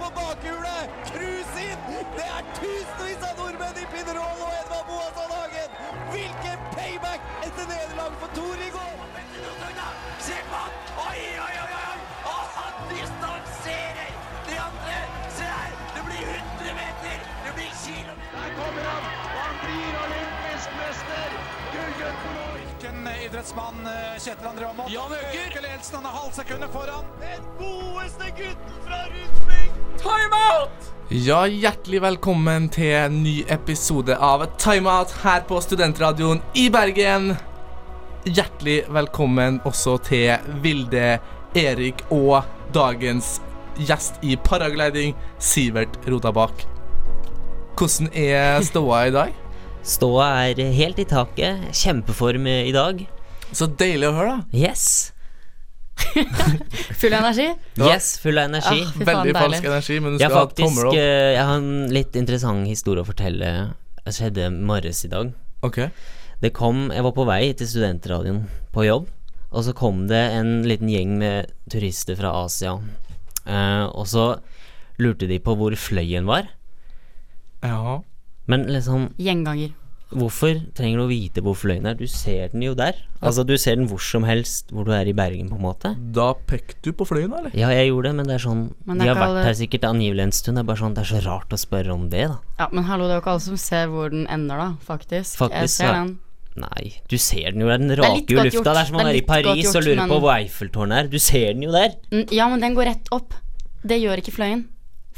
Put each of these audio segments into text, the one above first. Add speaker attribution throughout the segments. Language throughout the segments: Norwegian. Speaker 1: på bakhjulet! Cruise inn! Det er tusenvis av nordmenn i Pinerol og Edvard Boasson Hagen! Hvilken payback etter nederlag for Tor i går!
Speaker 2: Se på han! Oi, oi, oi! oi! Og han distanserer de andre! Se her! Det blir 100 meter! Det blir kilometer!
Speaker 3: Der kommer han! Han blir olympisk mester! Gullgutten vår!
Speaker 4: Hvilken idrettsmann eh, Kjetil André Aamodt? Jan Øker! Ledelsen han er halvt sekundet foran.
Speaker 1: Den godeste gutten fra Rudspring!
Speaker 5: Ja, hjertelig velkommen til en ny episode av Timeout her på Studentradioen i Bergen. Hjertelig velkommen også til Vilde, Erik og dagens gjest i paragliding, Sivert Rotabakk. Hvordan er ståa i dag?
Speaker 6: Ståa er helt i taket. Kjempeform i dag.
Speaker 5: Så deilig å høre, da.
Speaker 6: Yes.
Speaker 7: Full energi?
Speaker 6: Yes, full av energi.
Speaker 7: Ah, Fy faen,
Speaker 5: Veldig
Speaker 7: deilig.
Speaker 5: falsk energi, men du
Speaker 6: jeg,
Speaker 5: skal
Speaker 6: har
Speaker 5: ha
Speaker 6: faktisk,
Speaker 5: tommel
Speaker 6: eh,
Speaker 5: opp.
Speaker 6: jeg har en litt interessant historie å fortelle. Det skjedde morges i dag.
Speaker 5: Ok.
Speaker 6: Det kom, Jeg var på vei til studentradioen på jobb, og så kom det en liten gjeng med turister fra Asia. Eh, og så lurte de på hvor fløyen var.
Speaker 5: Ja.
Speaker 6: Men liksom,
Speaker 7: Gjenganger.
Speaker 6: hvorfor trenger du å vite hvor fløyen er? Du ser den jo der. Altså, Du ser den hvor som helst hvor du er i Bergen, på en måte.
Speaker 5: Da pekte du på fløyen, da, eller?
Speaker 6: Ja, jeg gjorde det, men det er sånn
Speaker 7: Men det
Speaker 6: De har
Speaker 7: er ikke
Speaker 6: vært
Speaker 7: alle-
Speaker 6: her sikkert angivelig en stund. Det er bare sånn, det er så rart å spørre om det, da.
Speaker 7: Ja, men hallo, det er jo ikke alle som ser hvor den ender, da, faktisk.
Speaker 6: Faktisk,
Speaker 7: jeg ser
Speaker 6: ja.
Speaker 7: den.
Speaker 6: Nei, du ser den jo der. Den
Speaker 7: er
Speaker 6: raker
Speaker 7: litt
Speaker 6: jo
Speaker 7: godt
Speaker 6: lufta.
Speaker 7: gjort.
Speaker 6: Det er som
Speaker 7: Det
Speaker 6: man
Speaker 7: er
Speaker 6: er i
Speaker 7: litt godt
Speaker 6: Paris og
Speaker 7: gjort,
Speaker 6: lurer
Speaker 7: men-
Speaker 6: på hvor Eiffeltårnet er. Du ser den jo der.
Speaker 7: N- Mm, Ja, men den går rett opp. Det gjør ikke fløyen.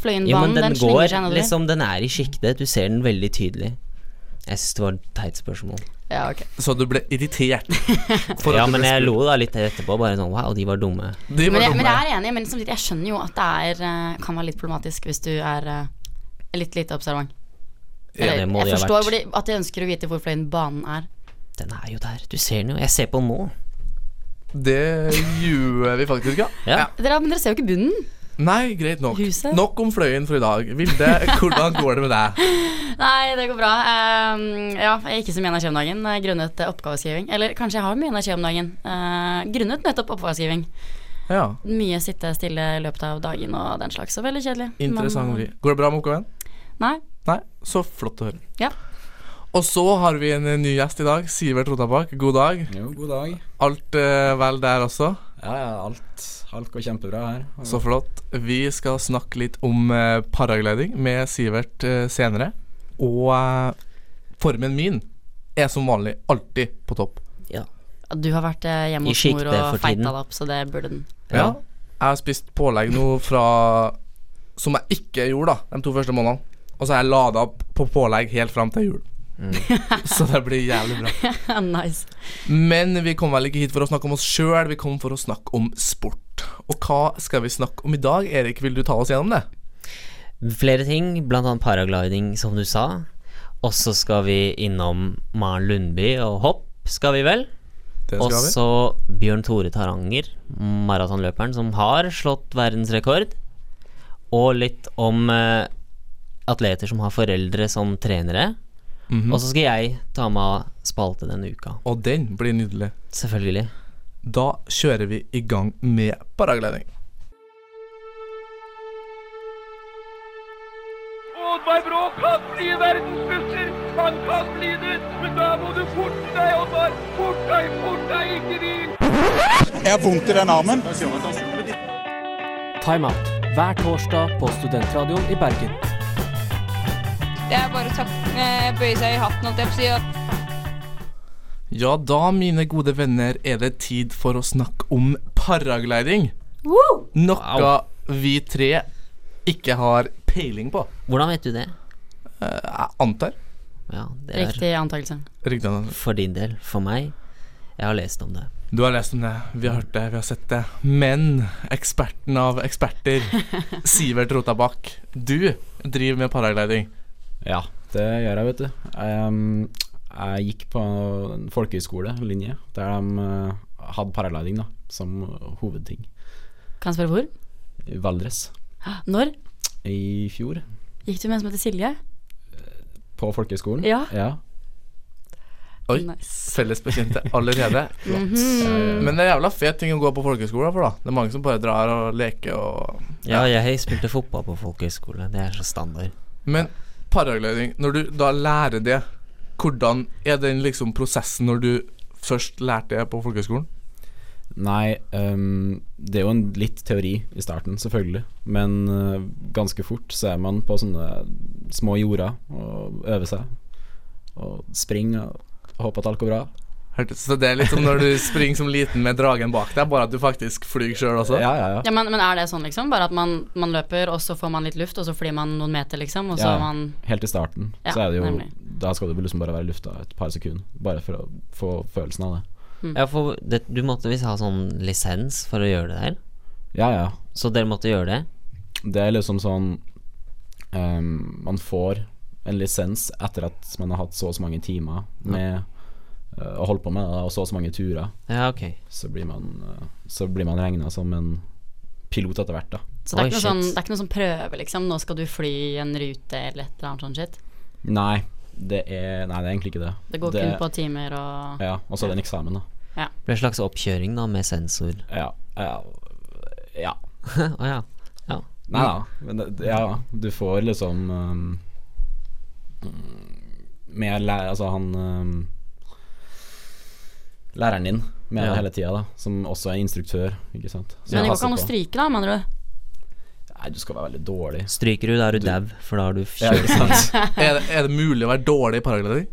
Speaker 7: Fløyen
Speaker 6: Jo, men
Speaker 7: vann, den,
Speaker 6: den
Speaker 7: slynger
Speaker 6: går
Speaker 7: seg nedover.
Speaker 6: liksom Den er i sjiktet. Du ser den veldig tydelig. Jeg syns det var et teit spørsmål.
Speaker 7: Ja, ok.
Speaker 5: Så du ble irritert. for at
Speaker 6: Ja,
Speaker 5: du
Speaker 6: men
Speaker 5: ble
Speaker 6: jeg
Speaker 5: spurt.
Speaker 6: lo da litt etterpå. Bare sånn wow, de var dumme.
Speaker 5: De var
Speaker 7: Men jeg, men
Speaker 5: dumme.
Speaker 7: jeg er enig, men samtidig, jeg skjønner jo at det er, eh, kan være litt problematisk hvis du er eh, litt lite observant.
Speaker 6: Ja, det må de
Speaker 7: jeg
Speaker 6: ha vært.
Speaker 7: forstår hvor de, at de ønsker å vite hvor fløyen banen er.
Speaker 6: Den er jo der. Du ser den jo. Jeg ser på den nå.
Speaker 5: Det gjør vi faktisk, ja.
Speaker 6: Ja.
Speaker 7: Dere, men dere ser jo ikke bunnen.
Speaker 5: Nei, greit nok.
Speaker 7: Huset?
Speaker 5: Nok om fløyen for i dag. Vilde, hvordan går det med deg?
Speaker 7: Nei, det går bra. Ehm, ja, jeg er ikke så mye energi om dagen eh, grunnet eh, oppgaveskriving. Eller kanskje jeg har mye energi om dagen eh, grunnet nettopp oppgaveskriving.
Speaker 5: Ja,
Speaker 7: Mye sitte stille i løpet av dagen og den slags. Så veldig kjedelig. Men,
Speaker 5: Interessant. vri. Går det bra med oppgaven?
Speaker 7: Nei.
Speaker 5: Nei? Så flott å høre.
Speaker 7: Ja.
Speaker 5: Og så har vi en eh, ny gjest i dag. Sivert Rotabakk, god dag.
Speaker 8: Jo, god dag.
Speaker 5: Alt eh, vel der også?
Speaker 8: Ja, ja, alt, alt går kjempebra her.
Speaker 5: Så flott. Vi skal snakke litt om eh, paragliding med Sivert eh, senere. Og eh, formen min er som vanlig alltid på topp.
Speaker 7: Du har vært eh,
Speaker 6: I
Speaker 7: hjemme hos
Speaker 6: sjiktet
Speaker 7: mor og
Speaker 6: for tiden.
Speaker 7: feita deg opp, så det burde den.
Speaker 5: Ja. Jeg har spist pålegg nå fra Som jeg ikke gjorde, da, de to første månedene. Og så har jeg lada opp på pålegg helt fram til jul. så det blir jævlig bra.
Speaker 7: nice.
Speaker 5: Men vi kom vel ikke hit for å snakke om oss sjøl, vi kom for å snakke om sport. Og hva skal vi snakke om i dag? Erik, vil du ta oss gjennom det?
Speaker 6: Flere ting, blant annet paragliding, som du sa. Og så skal vi innom Maren Lundby og hopp, skal vi vel?
Speaker 5: Det
Speaker 6: Og
Speaker 5: skal vi.
Speaker 6: så Bjørn Tore Taranger, maratonløperen som har slått verdensrekord. Og litt om eh, atleter som har foreldre som trenere.
Speaker 5: Mhm.
Speaker 6: Og så skal jeg ta med av spalte denne uka.
Speaker 5: Og den blir nydelig.
Speaker 6: Selvfølgelig.
Speaker 5: Da kjører vi i gang med paragliding.
Speaker 3: Oddvar Brå kan bli verdensmester! Han kan bli det! Men da må du forte deg, Oddvar! Fort deg, fort deg, ikke hvil!
Speaker 9: Timeout hver torsdag på Studentradioen i Bergen.
Speaker 10: Det er bare å ta- eh, bøye seg i hatten, holdt jeg på å si. og-
Speaker 5: Ja da, mine gode venner, er det tid for å snakke om paragliding. Noe
Speaker 6: Wow.
Speaker 5: vi tre ikke har peiling på.
Speaker 6: Hvordan vet du det?
Speaker 5: Jeg antar.
Speaker 6: Ja, det er
Speaker 7: Riktig antakelse.
Speaker 5: Riktig antar.
Speaker 6: for din del. For meg. Jeg har lest om det.
Speaker 5: Du har lest om det, vi har hørt det, vi har sett det. Men eksperten av eksperter, Sivert Rotabakk, du driver med paragliding.
Speaker 8: Ja, det gjør jeg, vet du. Ehm, jeg gikk på en folkehøyskolelinje der de eh, hadde paragliding da, som hovedting.
Speaker 7: Kan jeg spørre hvor?
Speaker 8: I Valdres
Speaker 7: Når
Speaker 8: i fjor,
Speaker 7: gikk du med en som heter Silje?
Speaker 8: på folkehøyskolen.
Speaker 7: Ja.
Speaker 5: Oi, felles bekjente allerede.
Speaker 8: Eh,
Speaker 7: Mhm.
Speaker 5: Men det er jævla fet ting å gå på folkehøyskole for, da. Det er mange som bare drar og leker og
Speaker 6: Ja, jeg spilte fotball på folkehøyskole. Det er så standard.
Speaker 5: Men paragliding, når du da lærer det, hvordan er den liksom prosessen når du først lærte det på folkehøyskolen?
Speaker 8: Nei, ehm, det er jo en litt teori i starten, selvfølgelig. Men eh, ganske fort så er man på sånne små jorder og øver seg. Og springer og håper at alt går bra.
Speaker 5: Hørtes Så det er litt som når du springer som liten med dragen bak deg, bare at du faktisk flyr sjøl også?
Speaker 8: Ja, ja,
Speaker 7: Ja, men, men er det sånn, liksom? Bare at man, man løper, og så får man litt luft, og så flyr man noen meter, liksom, og så
Speaker 8: Ja,
Speaker 7: er man
Speaker 8: Helt i starten.
Speaker 7: Ja,
Speaker 8: så er det jo
Speaker 7: nemlig.
Speaker 8: Da skal du liksom bare være i lufta et par sekunder. Bare for å få følelsen av det.
Speaker 6: Ja, for det, du måtte visst ha sånn lisens for å gjøre det der.
Speaker 8: Ja, ja.
Speaker 6: Så dere måtte gjøre det?
Speaker 8: Det er liksom sånn ehm, Man får en lisens etter at man har hatt så og så mange timer med eh, å holde på med det, og så og så mange turer.
Speaker 6: Ja, ok.
Speaker 8: Så blir man, eh, så blir man regna som en pilot etter hvert, da.
Speaker 7: Så det er, ikke noe sånn, det er ikke noe sånn prøve, liksom. Nå skal du fly en rute eller et eller annet sånt shit.
Speaker 8: Nei, det er, nei, det er egentlig ikke det.
Speaker 7: Det går kun på timer og
Speaker 8: Ja, og så er det en eksamen, da.
Speaker 6: Det ble en slags oppkjøring da, med sensor.
Speaker 8: Ja. ja, ja.
Speaker 6: Å ja. ja.
Speaker 8: Nei da, men det, ja, du får liksom um, Med lærer, altså han um, Læreren din med
Speaker 6: Ja.
Speaker 8: deg hele tida, da, som også er instruktør. Ikke sant? Så
Speaker 7: Men det
Speaker 8: han
Speaker 7: går ikke an å
Speaker 8: passer
Speaker 7: stryke, da, mener du?
Speaker 8: på. Nei, du skal være veldig dårlig.
Speaker 6: Stryker du, da er du dau, for da har du
Speaker 8: Ja,
Speaker 6: kjørt.
Speaker 8: ikke sant?
Speaker 5: Er, det, er det mulig å være dårlig i paragliding?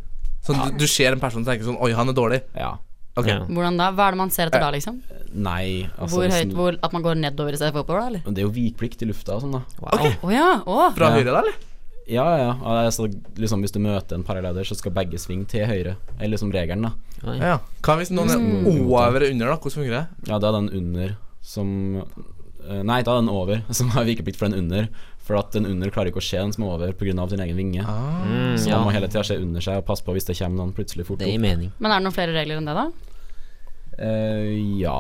Speaker 5: Sånn, du, du ser en person og tenker sånn Oi, han er dårlig.
Speaker 8: ja.
Speaker 5: Ok.
Speaker 6: Ja.
Speaker 7: Hvordan da? Hva er det man ser etter da, liksom?
Speaker 8: Nei, altså
Speaker 7: Hvor
Speaker 8: hvis
Speaker 7: høyt,
Speaker 8: du-
Speaker 7: hvor, at man går nedover i stedet for oppover, da, eller?
Speaker 8: Det er jo vikplikt i lufta og sånn, da.
Speaker 6: Wow.
Speaker 7: Å ja, å!
Speaker 5: Fra
Speaker 8: Ja.
Speaker 5: høyre, da, eller?
Speaker 8: Ja, ja. ja. Altså, liksom, hvis du møter en paraglider, så skal begge svinge til høyre. Er liksom regelen, da.
Speaker 6: Oi.
Speaker 5: Ja. Hva hvis noen er
Speaker 7: Mm.
Speaker 5: over eller under, da? Hvordan fungerer det?
Speaker 8: Ja, da er den under som eh, Nei, da er den over som har vikeplikt for den under. For at den under klarer ikke å se den som er over pga. sin egen vinge.
Speaker 6: Mm,
Speaker 8: Så
Speaker 6: ja,
Speaker 8: man må hele tida se under seg og passe på hvis det kommer noen plutselig fort
Speaker 6: det gir
Speaker 8: opp.
Speaker 6: mening.
Speaker 7: Men er det noen flere regler enn det, da?
Speaker 8: Eh, ja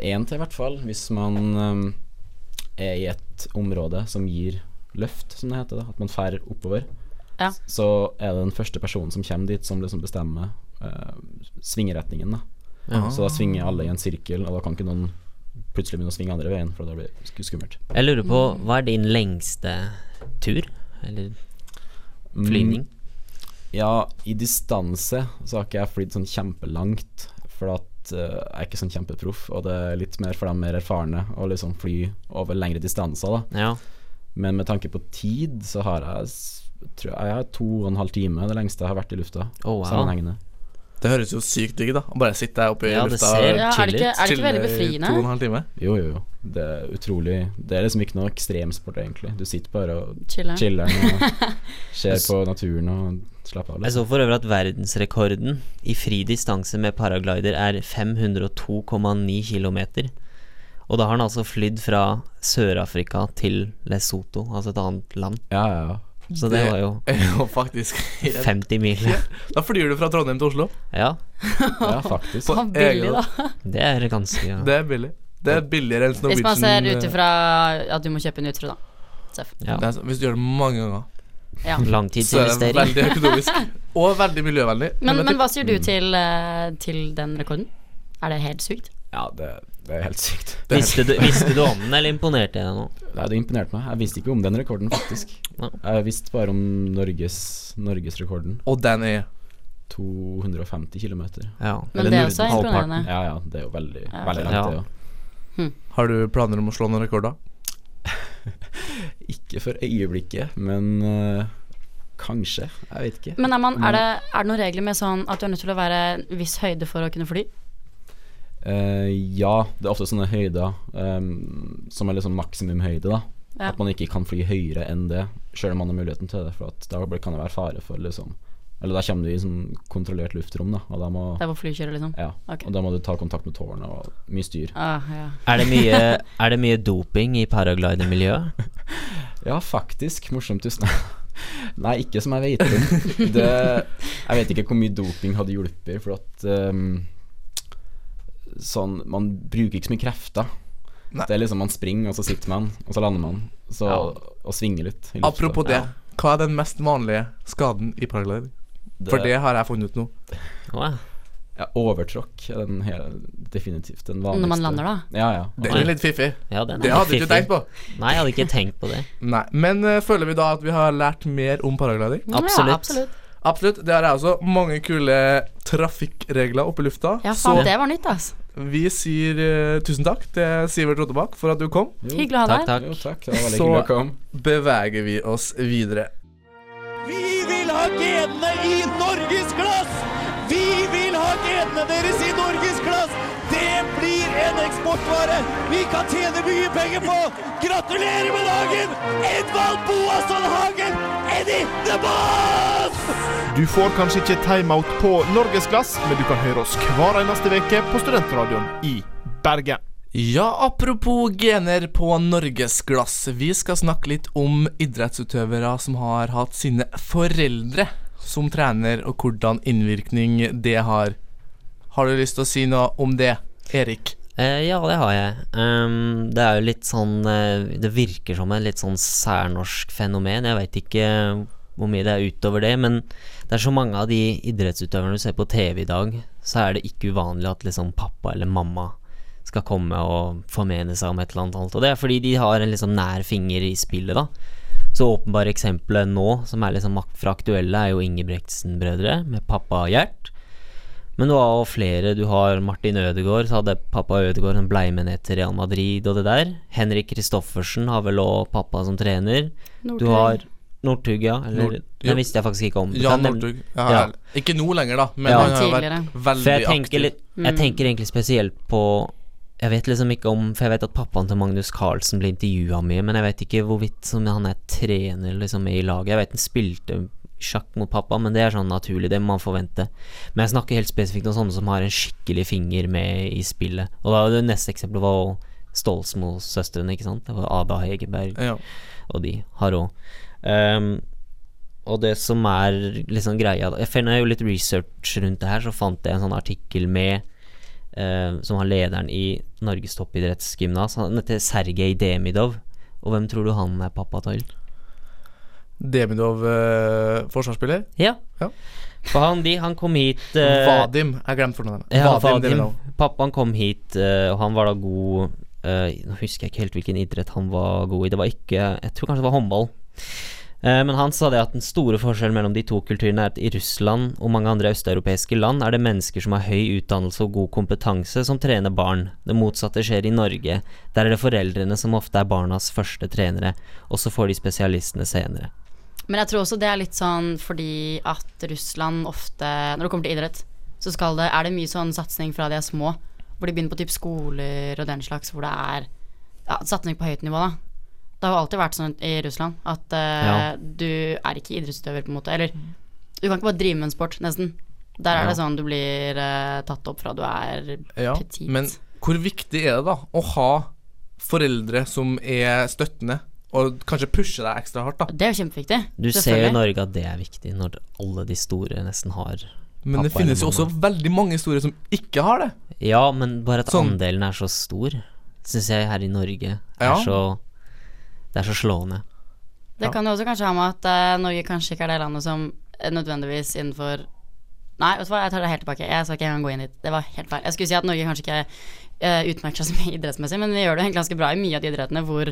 Speaker 8: Én til, i hvert fall. Hvis man eh, er i et område som gir løft, som det heter. da At man fer oppover.
Speaker 7: Ja.
Speaker 8: Så er det den første personen som kommer dit, som liksom bestemmer eh, svingeretningen. da Så da svinger alle i en sirkel, og da kan ikke noen plutselig begynne å svinge andre veien, for da blir det sk- skummelt.
Speaker 6: Jeg lurer på, hva er din lengste tur? Eller
Speaker 8: Mm.
Speaker 6: flyvning?
Speaker 8: Ja, i distanse så har ikke jeg flydd sånn kjempelangt. For at eh, jeg er ikke sånn kjempeproff, og det er litt mer for de mer erfarne å liksom fly over lengre distanser. da
Speaker 6: Ja.
Speaker 8: Men med tanke på tid, så har jeg s- tror jeg, jeg har to og en halv time, det lengste jeg har vært i lufta.
Speaker 6: Å, wow.
Speaker 8: Sammenhengende.
Speaker 5: Det høres jo sykt digg ut, da. Bare sitte der oppe i
Speaker 6: Ja, det
Speaker 5: lufta
Speaker 6: ser-
Speaker 5: og
Speaker 7: Ja, er det ikke, er det ikke
Speaker 5: chille
Speaker 7: veldig
Speaker 5: i to og en
Speaker 7: befriende?
Speaker 5: halv time.
Speaker 8: Jo, jo, jo. Det er utrolig Det er liksom ikke noe ekstremsport, egentlig. Du sitter bare og
Speaker 7: Chille.
Speaker 8: chiller og ser på naturen og slapper av.
Speaker 6: Jeg så for øvrig at verdensrekorden i fri distanse med paraglider er 502,9 km. Og da har han altså flydd fra Sør-Afrika til Lesotho, altså et annet land.
Speaker 8: Ja, ja, ja.
Speaker 6: Så det var jo
Speaker 5: er jo faktisk
Speaker 6: 50 mil.
Speaker 5: Da flyr du fra Trondheim til Oslo.
Speaker 6: Ja,
Speaker 8: Ja, faktisk.
Speaker 5: På
Speaker 7: Å, billig,
Speaker 5: egen-
Speaker 7: da.
Speaker 6: det er ganske ja.
Speaker 5: Det er billig. Det er billigere enn
Speaker 7: Hvis man ser
Speaker 5: Norwegian.
Speaker 7: ut
Speaker 5: eh,
Speaker 7: ifra at du må kjøpe en utro, da.
Speaker 6: ja.
Speaker 5: det er så- Hvis du gjør det mange ganger, så er det
Speaker 6: Langtidsinvestering.
Speaker 5: veldig økonomisk. Og veldig miljøvennlig.
Speaker 7: Men,
Speaker 5: vil jeg
Speaker 7: men hva sier du til, eh, til den rekorden? Er det helt sykt?
Speaker 8: Ja, det, det er helt sykt.
Speaker 6: Visste du, visste du om den, eller imponerte jeg deg nå?
Speaker 8: Nei, det imponerte meg. Jeg visste ikke om den rekorden, faktisk.
Speaker 6: Ja.
Speaker 8: Jeg visste bare om Norges Norgesrekorden.
Speaker 5: tippe. Og den er
Speaker 8: 250 km.
Speaker 6: Ja.
Speaker 7: Men det er også imponerende.
Speaker 8: Ja, ja, det er jo veldig,
Speaker 7: Ja.
Speaker 8: veldig langt,
Speaker 6: Ja.
Speaker 8: det òg.
Speaker 5: Har du planer om å slå noen rekorder?
Speaker 8: Ikke for øyeblikket, men øh, kanskje. Jeg vet ikke.
Speaker 7: Men er, man,
Speaker 6: Mm.
Speaker 7: er, det, er det noen regler med sånn at du er nødt til å være en viss høyde for å kunne fly?
Speaker 8: Eh, ja, det er ofte sånne høyder ehm, som er liksom maksimumhøyde, da.
Speaker 7: Ja.
Speaker 8: At man ikke kan fly høyere enn det, sjøl om man har muligheten til det. For at da blir- kan det være fare for liksom Eller da kommer du i sånn kontrollert luftrom, da. Og da må,
Speaker 7: Der hvor fly kjører, liksom?
Speaker 8: ja,
Speaker 7: ok.
Speaker 8: og da må du ta kontakt med tårnet og mye styr.
Speaker 7: Ah, ja.
Speaker 6: Er det mye, er det mye doping i paraglidermiljøet?
Speaker 8: Ja, faktisk. Morsomt. Tusen Nei, ikke som jeg vet om. Det, jeg vet ikke hvor mye doping hadde hjulpet, for at ehm, sånn, Man bruker ikke så mye krefter.
Speaker 5: Nei.
Speaker 8: Det er liksom Man springer, og så sitter man, og så lander man. Så,
Speaker 6: Ja.
Speaker 8: Og svinger litt. i lufta.
Speaker 5: Apropos det, hva er den mest vanlige skaden i paragliding? For det har jeg funnet ut nå.
Speaker 8: Ja, overtråkk er den hele, definitivt den vanligste.
Speaker 7: Når man lander, da?
Speaker 8: Ja, ja.
Speaker 5: Den er litt fiffig.
Speaker 6: Ja, den er
Speaker 5: det
Speaker 6: litt
Speaker 5: hadde du ikke
Speaker 6: fiffig.
Speaker 5: tenkt på.
Speaker 6: Nei, jeg hadde ikke tenkt på det.
Speaker 5: Nei, Men eh, føler vi da at vi har lært mer om paragliding?
Speaker 6: Absolutt.
Speaker 7: Ja, absolutt.
Speaker 5: Absolutt. Det har jeg også. Mange kule trafikkregler oppe i lufta.
Speaker 7: Ja,
Speaker 5: så
Speaker 7: faen, det var nytt, ass.
Speaker 5: vi sier eh, tusen takk til Sivert Rottebakk for at du kom.
Speaker 7: Hyggelig å ha deg
Speaker 6: Takk,
Speaker 7: her.
Speaker 6: takk.
Speaker 8: Jo, takk. Det var veldig
Speaker 5: Så-
Speaker 8: hyggelig å komme.
Speaker 5: Beveger vi oss videre.
Speaker 1: Vi vil ha genene i norgesklass! Vi vil ha genene deres i norgesklass! Det blir en eksportvare vi kan tjene mye penger på! Gratulerer med dagen, Edvald Boasson Hagen, Eddie The Boss!
Speaker 11: Du får kanskje ikke timeout på Norgesglass, men du kan høre oss hver eneste uke på Studentradioen i Bergen.
Speaker 5: Ja, apropos gener på norgesglass. Vi skal snakke litt om idrettsutøvere som har hatt sine foreldre som trener, og hvordan innvirkning det har. Har du lyst til å si noe om det, Erik?
Speaker 6: Eh, ja, det har jeg. Ehm, det er jo litt sånn eh, Det virker som et litt sånn særnorsk fenomen. Jeg veit ikke eh, hvor mye det er utover det, men det er så mange av de idrettsutøverne du ser på TV i dag, så er det ikke uvanlig at liksom pappa eller mamma skal komme og formene seg om et eller annet. annet. Og det er fordi de har en liksom nær finger i spillet, da. Så åpenbare eksempelet nå, som er liksom ak- fra aktuelle, er jo Ingebrigtsen-brødre med pappa Gjert. Men du har jo flere. Du har Martin Ødegaard, så hadde pappa Ødegaard en blei med ned til Real Madrid og det der. Henrik Kristoffersen har vel òg pappa som trener. Du har Northug, ja. Eller,
Speaker 5: Nord- jo.
Speaker 6: den visste jeg faktisk ikke om. Du
Speaker 5: Jan
Speaker 6: kan nevne-
Speaker 5: Northug. Ja,
Speaker 6: Ja.
Speaker 5: Ikke nå lenger, da, men
Speaker 6: Ja.
Speaker 5: han har jo vært
Speaker 7: Tidligere.
Speaker 5: veldig
Speaker 6: For jeg
Speaker 5: aktiv.
Speaker 6: tenker, litt, jeg tenker egentlig spesielt på Jeg vet liksom ikke om For jeg vet at pappaen til Magnus Carlsen ble intervjua mye, men jeg vet ikke hvorvidt som han er trener liksom i laget. Jeg vet han spilte sjakk mot pappa, men det er sånn naturlig, det må man forvente. Men jeg snakker helt spesifikt om sånne som har en skikkelig finger med i spillet. Og da det neste eksempelet var jo Stolsmo-søstrene, ikke sant? Det var Ada Hegerberg
Speaker 5: Ja.
Speaker 6: og de har òg. Ehm, og det som er liksom greia Jeg finner jo litt research rundt det her, så fant jeg en sånn artikkel med eh, Som har lederen i Norges toppidrettsgymnas. Han heter Sergej Demidov. Og hvem tror du han er pappa til?
Speaker 5: Demidov, eh, forsvarsspiller.
Speaker 6: Ja.
Speaker 5: Ja.
Speaker 6: For han, de, han kom hit eh,
Speaker 5: Vadim. Jeg glemte fornavnet.
Speaker 6: Ja, Vadim.
Speaker 5: Demidov.
Speaker 6: Pappaen kom hit, eh, og han var da god eh, Nå husker jeg ikke helt hvilken idrett han var god i. Det var ikke Jeg tror kanskje det var håndball. Eh, men han sa det at den store forskjellen mellom de to kulturene er at i Russland og mange andre østeuropeiske land er det mennesker som har høy utdannelse og god kompetanse, som trener barn. Det motsatte skjer i Norge. Der er det foreldrene som ofte er barnas første trenere, og så får de spesialistene senere.
Speaker 7: Men jeg tror også det er litt sånn fordi at Russland ofte Når det kommer til idrett, så skal det, er det mye sånn satsing fra de er små. Hvor de begynner på typ skoler og den slags, hvor det er ja, satsing på høyt nivå, da. Det har jo alltid vært sånn i Russland at eh,
Speaker 6: Ja.
Speaker 7: du er ikke idrettsutøver, på en måte. Eller du kan ikke bare drive med en sport, nesten. Der er
Speaker 6: Ja.
Speaker 7: det sånn du blir eh, tatt opp fra du er
Speaker 5: Ja,
Speaker 7: petit.
Speaker 5: men hvor viktig er det da å ha foreldre som er støttende, og kanskje pushe deg ekstra hardt, da?
Speaker 7: Det er jo kjempeviktig.
Speaker 6: Du ser jo i
Speaker 7: selvfølgelig.
Speaker 6: Norge at det er viktig, når alle de store nesten har
Speaker 5: Men det
Speaker 6: Pappa eller
Speaker 5: finnes jo
Speaker 6: mamma.
Speaker 5: også veldig mange historier som ikke har det.
Speaker 6: Ja, men bare at
Speaker 5: Sånn.
Speaker 6: andelen er så stor, syns jeg her i Norge er
Speaker 5: Ja.
Speaker 6: så Det er så slående.
Speaker 5: Ja.
Speaker 7: Det kan jo også kanskje ha med at eh, Norge kanskje ikke er det landet som eh, nødvendigvis innenfor Nei, vet du hva, jeg tar det helt tilbake. Jeg skal ikke engang gå inn dit. Det var helt feil. Jeg skulle si at Norge kanskje ikke eh, utmerker seg så mye idrettsmessig, men vi gjør det jo egentlig ganske bra i mye av de idrettene hvor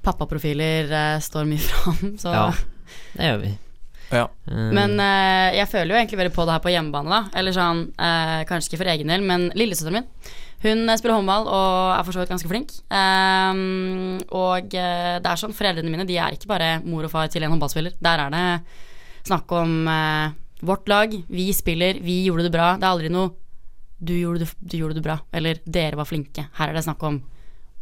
Speaker 7: pappaprofiler eh, står mye fram. Så.
Speaker 6: Ja, det gjør vi.
Speaker 5: Ja.
Speaker 6: Eh,
Speaker 7: Men eh, jeg føler jo egentlig veldig på det her på hjemmebane, da. Eller sånn, eh, kanskje ikke for egen del, men lillesøsteren min. Hun eh, spiller håndball og er for så vidt ganske flink. Ehm, og eh, det er sånn, foreldrene mine de er ikke bare mor og far til en håndballspiller. Der er det snakk om eh, vårt lag, vi spiller, vi gjorde det bra. Det er aldri noe du gjorde det, f- du gjorde det bra, eller dere var flinke. Her er det snakk om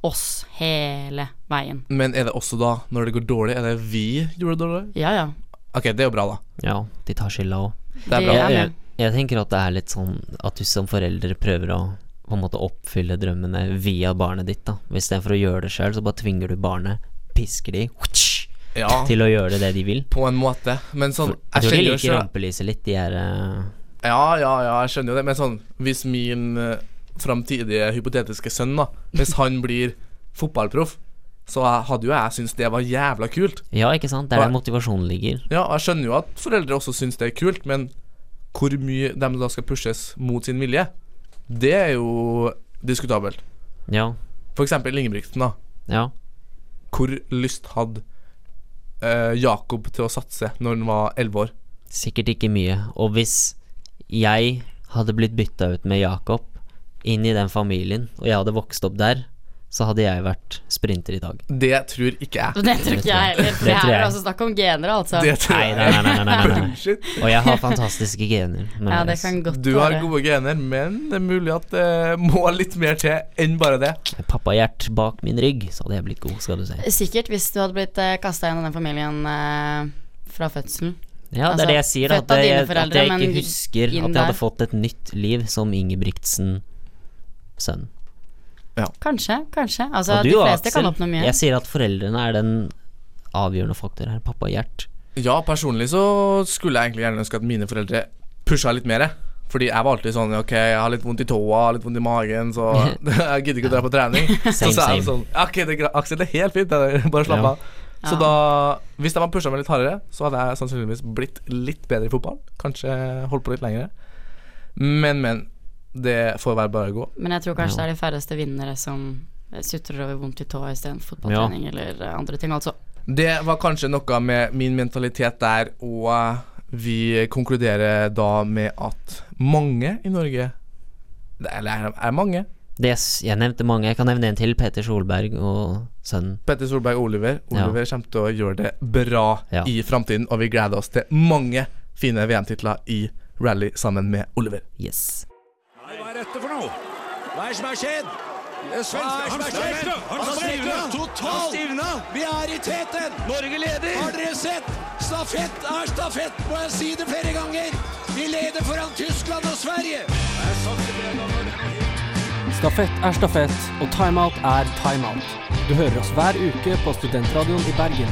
Speaker 7: oss hele veien.
Speaker 5: Men er det også da, når det går dårlig, er det vi gjorde det dårlig?
Speaker 7: Ja, ja.
Speaker 5: Ok, det er jo bra, da.
Speaker 6: ja, de tar skylda òg.
Speaker 5: Det er
Speaker 7: Vi
Speaker 5: bra.
Speaker 7: er
Speaker 6: Jeg,
Speaker 7: med.
Speaker 6: jeg tenker at det er litt sånn at du som forelder prøver å på en måte oppfylle drømmene via barnet ditt, da. Istedenfor å gjøre det sjøl, så bare tvinger du barnet, pisker de,
Speaker 5: Ja,
Speaker 6: til å gjøre det de vil.
Speaker 5: på en måte. Men sånn
Speaker 6: Jeg tror de
Speaker 5: kjenner jo
Speaker 6: liker
Speaker 5: selv-
Speaker 6: rampelyset litt, de er eh,
Speaker 5: Ja, ja, ja, jeg skjønner jo det. Men sånn, hvis min eh, framtidige hypotetiske sønn, da Hvis han blir fotballproff, så hadde jo jeg syntes det var jævla kult.
Speaker 6: Ja, ikke sant? Det er der motivasjonen ligger.
Speaker 5: Ja, og jeg skjønner jo at foreldre også syns det er kult, men hvor mye de da skal pushes mot sin vilje, det er jo diskutabelt.
Speaker 6: Ja.
Speaker 5: For eksempel Ingebrigtsen, da.
Speaker 6: Ja.
Speaker 5: Hvor lyst hadde eh, Jakob til å satse når han var elleve år?
Speaker 6: Sikkert ikke mye. Og hvis jeg hadde blitt bytta ut med Jakob inn i den familien, og jeg hadde vokst opp der, så hadde jeg vært sprinter i dag.
Speaker 5: Det tror ikke jeg.
Speaker 7: Det tror ikke jeg heller. Det
Speaker 6: Det tror
Speaker 7: her er
Speaker 6: jeg.
Speaker 7: altså snakk om gener, altså.
Speaker 6: Nei, nei, nei, nei, nei, nei, nei. Og jeg har fantastiske gener. men-
Speaker 7: Ja, det kan godt
Speaker 5: Du har
Speaker 7: være.
Speaker 5: gode gener, men det er mulig at det må litt mer til enn bare det.
Speaker 6: Pappahjert bak min rygg, så hadde jeg blitt god, skal du si.
Speaker 7: Sikkert hvis du hadde blitt uh, kasta inn i den familien eh, fra fødselen.
Speaker 6: Ja, det er det jeg sier, at
Speaker 7: Altså, født av
Speaker 6: jeg,
Speaker 7: dine
Speaker 6: at jeg
Speaker 7: men
Speaker 6: ikke husker at
Speaker 7: inn
Speaker 6: jeg hadde
Speaker 7: der.
Speaker 6: fått et nytt liv som Ingebrigtsen-sønn.
Speaker 7: Kanskje, kanskje. Altså,
Speaker 6: Og
Speaker 7: de
Speaker 6: du,
Speaker 7: fleste
Speaker 6: Aksel,
Speaker 7: kan oppnå mye.
Speaker 6: Jeg sier at foreldrene er den avgjørende faktor her. Pappa Gjert.
Speaker 5: Ja, personlig så skulle jeg egentlig gjerne ønske at mine foreldre pusha litt mer. Fordi jeg var alltid sånn Ok, jeg har litt vondt i tåa, litt vondt i magen, så jeg gidder ikke å dra på trening. så
Speaker 6: Same,
Speaker 5: sa jeg
Speaker 6: same.
Speaker 5: sånn Ok, det er gra- Aksel, det er helt fint, det der. bare slapp
Speaker 6: Ja.
Speaker 5: av. Så da, hvis de hadde pusha meg litt hardere, så hadde jeg sannsynligvis blitt litt bedre i fotball. Kanskje holdt på litt lenger. Men, men. Det får være bare å gå.
Speaker 7: Men jeg tror kanskje det er de færreste vinnere som sutrer over vondt i tåa istedenfor fotballtrening eller eh, andre ting, altså.
Speaker 5: Det var kanskje noe med min mentalitet der, og eh, vi konkluderer da med at mange i Norge det er- Eller er- er mange.
Speaker 6: Det, s- jeg nevnte mange. Jeg kan nevne en til. Peter Solberg og sønnen.
Speaker 5: Petter Solberg og Oliver.
Speaker 6: Ja.
Speaker 5: Oliver kommer til å gjøre det bra
Speaker 6: Ja.
Speaker 5: i framtiden, og vi gleder oss til mange fine VM-titler i rally sammen med Oliver.
Speaker 6: Yes.
Speaker 2: Hva er dette for noe? Hva er det som har skjedd?
Speaker 4: Han stivna! Han stivna!
Speaker 2: Totalt! Vi er i teten! Norge leder! Har dere sett? Stafett er stafett, må jeg si det flere ganger! Vi leder foran Tyskland og Sverige!
Speaker 9: Stafett er stafett, og timeout er timeout. Du hører oss hver uke på Studentradioen i Bergen.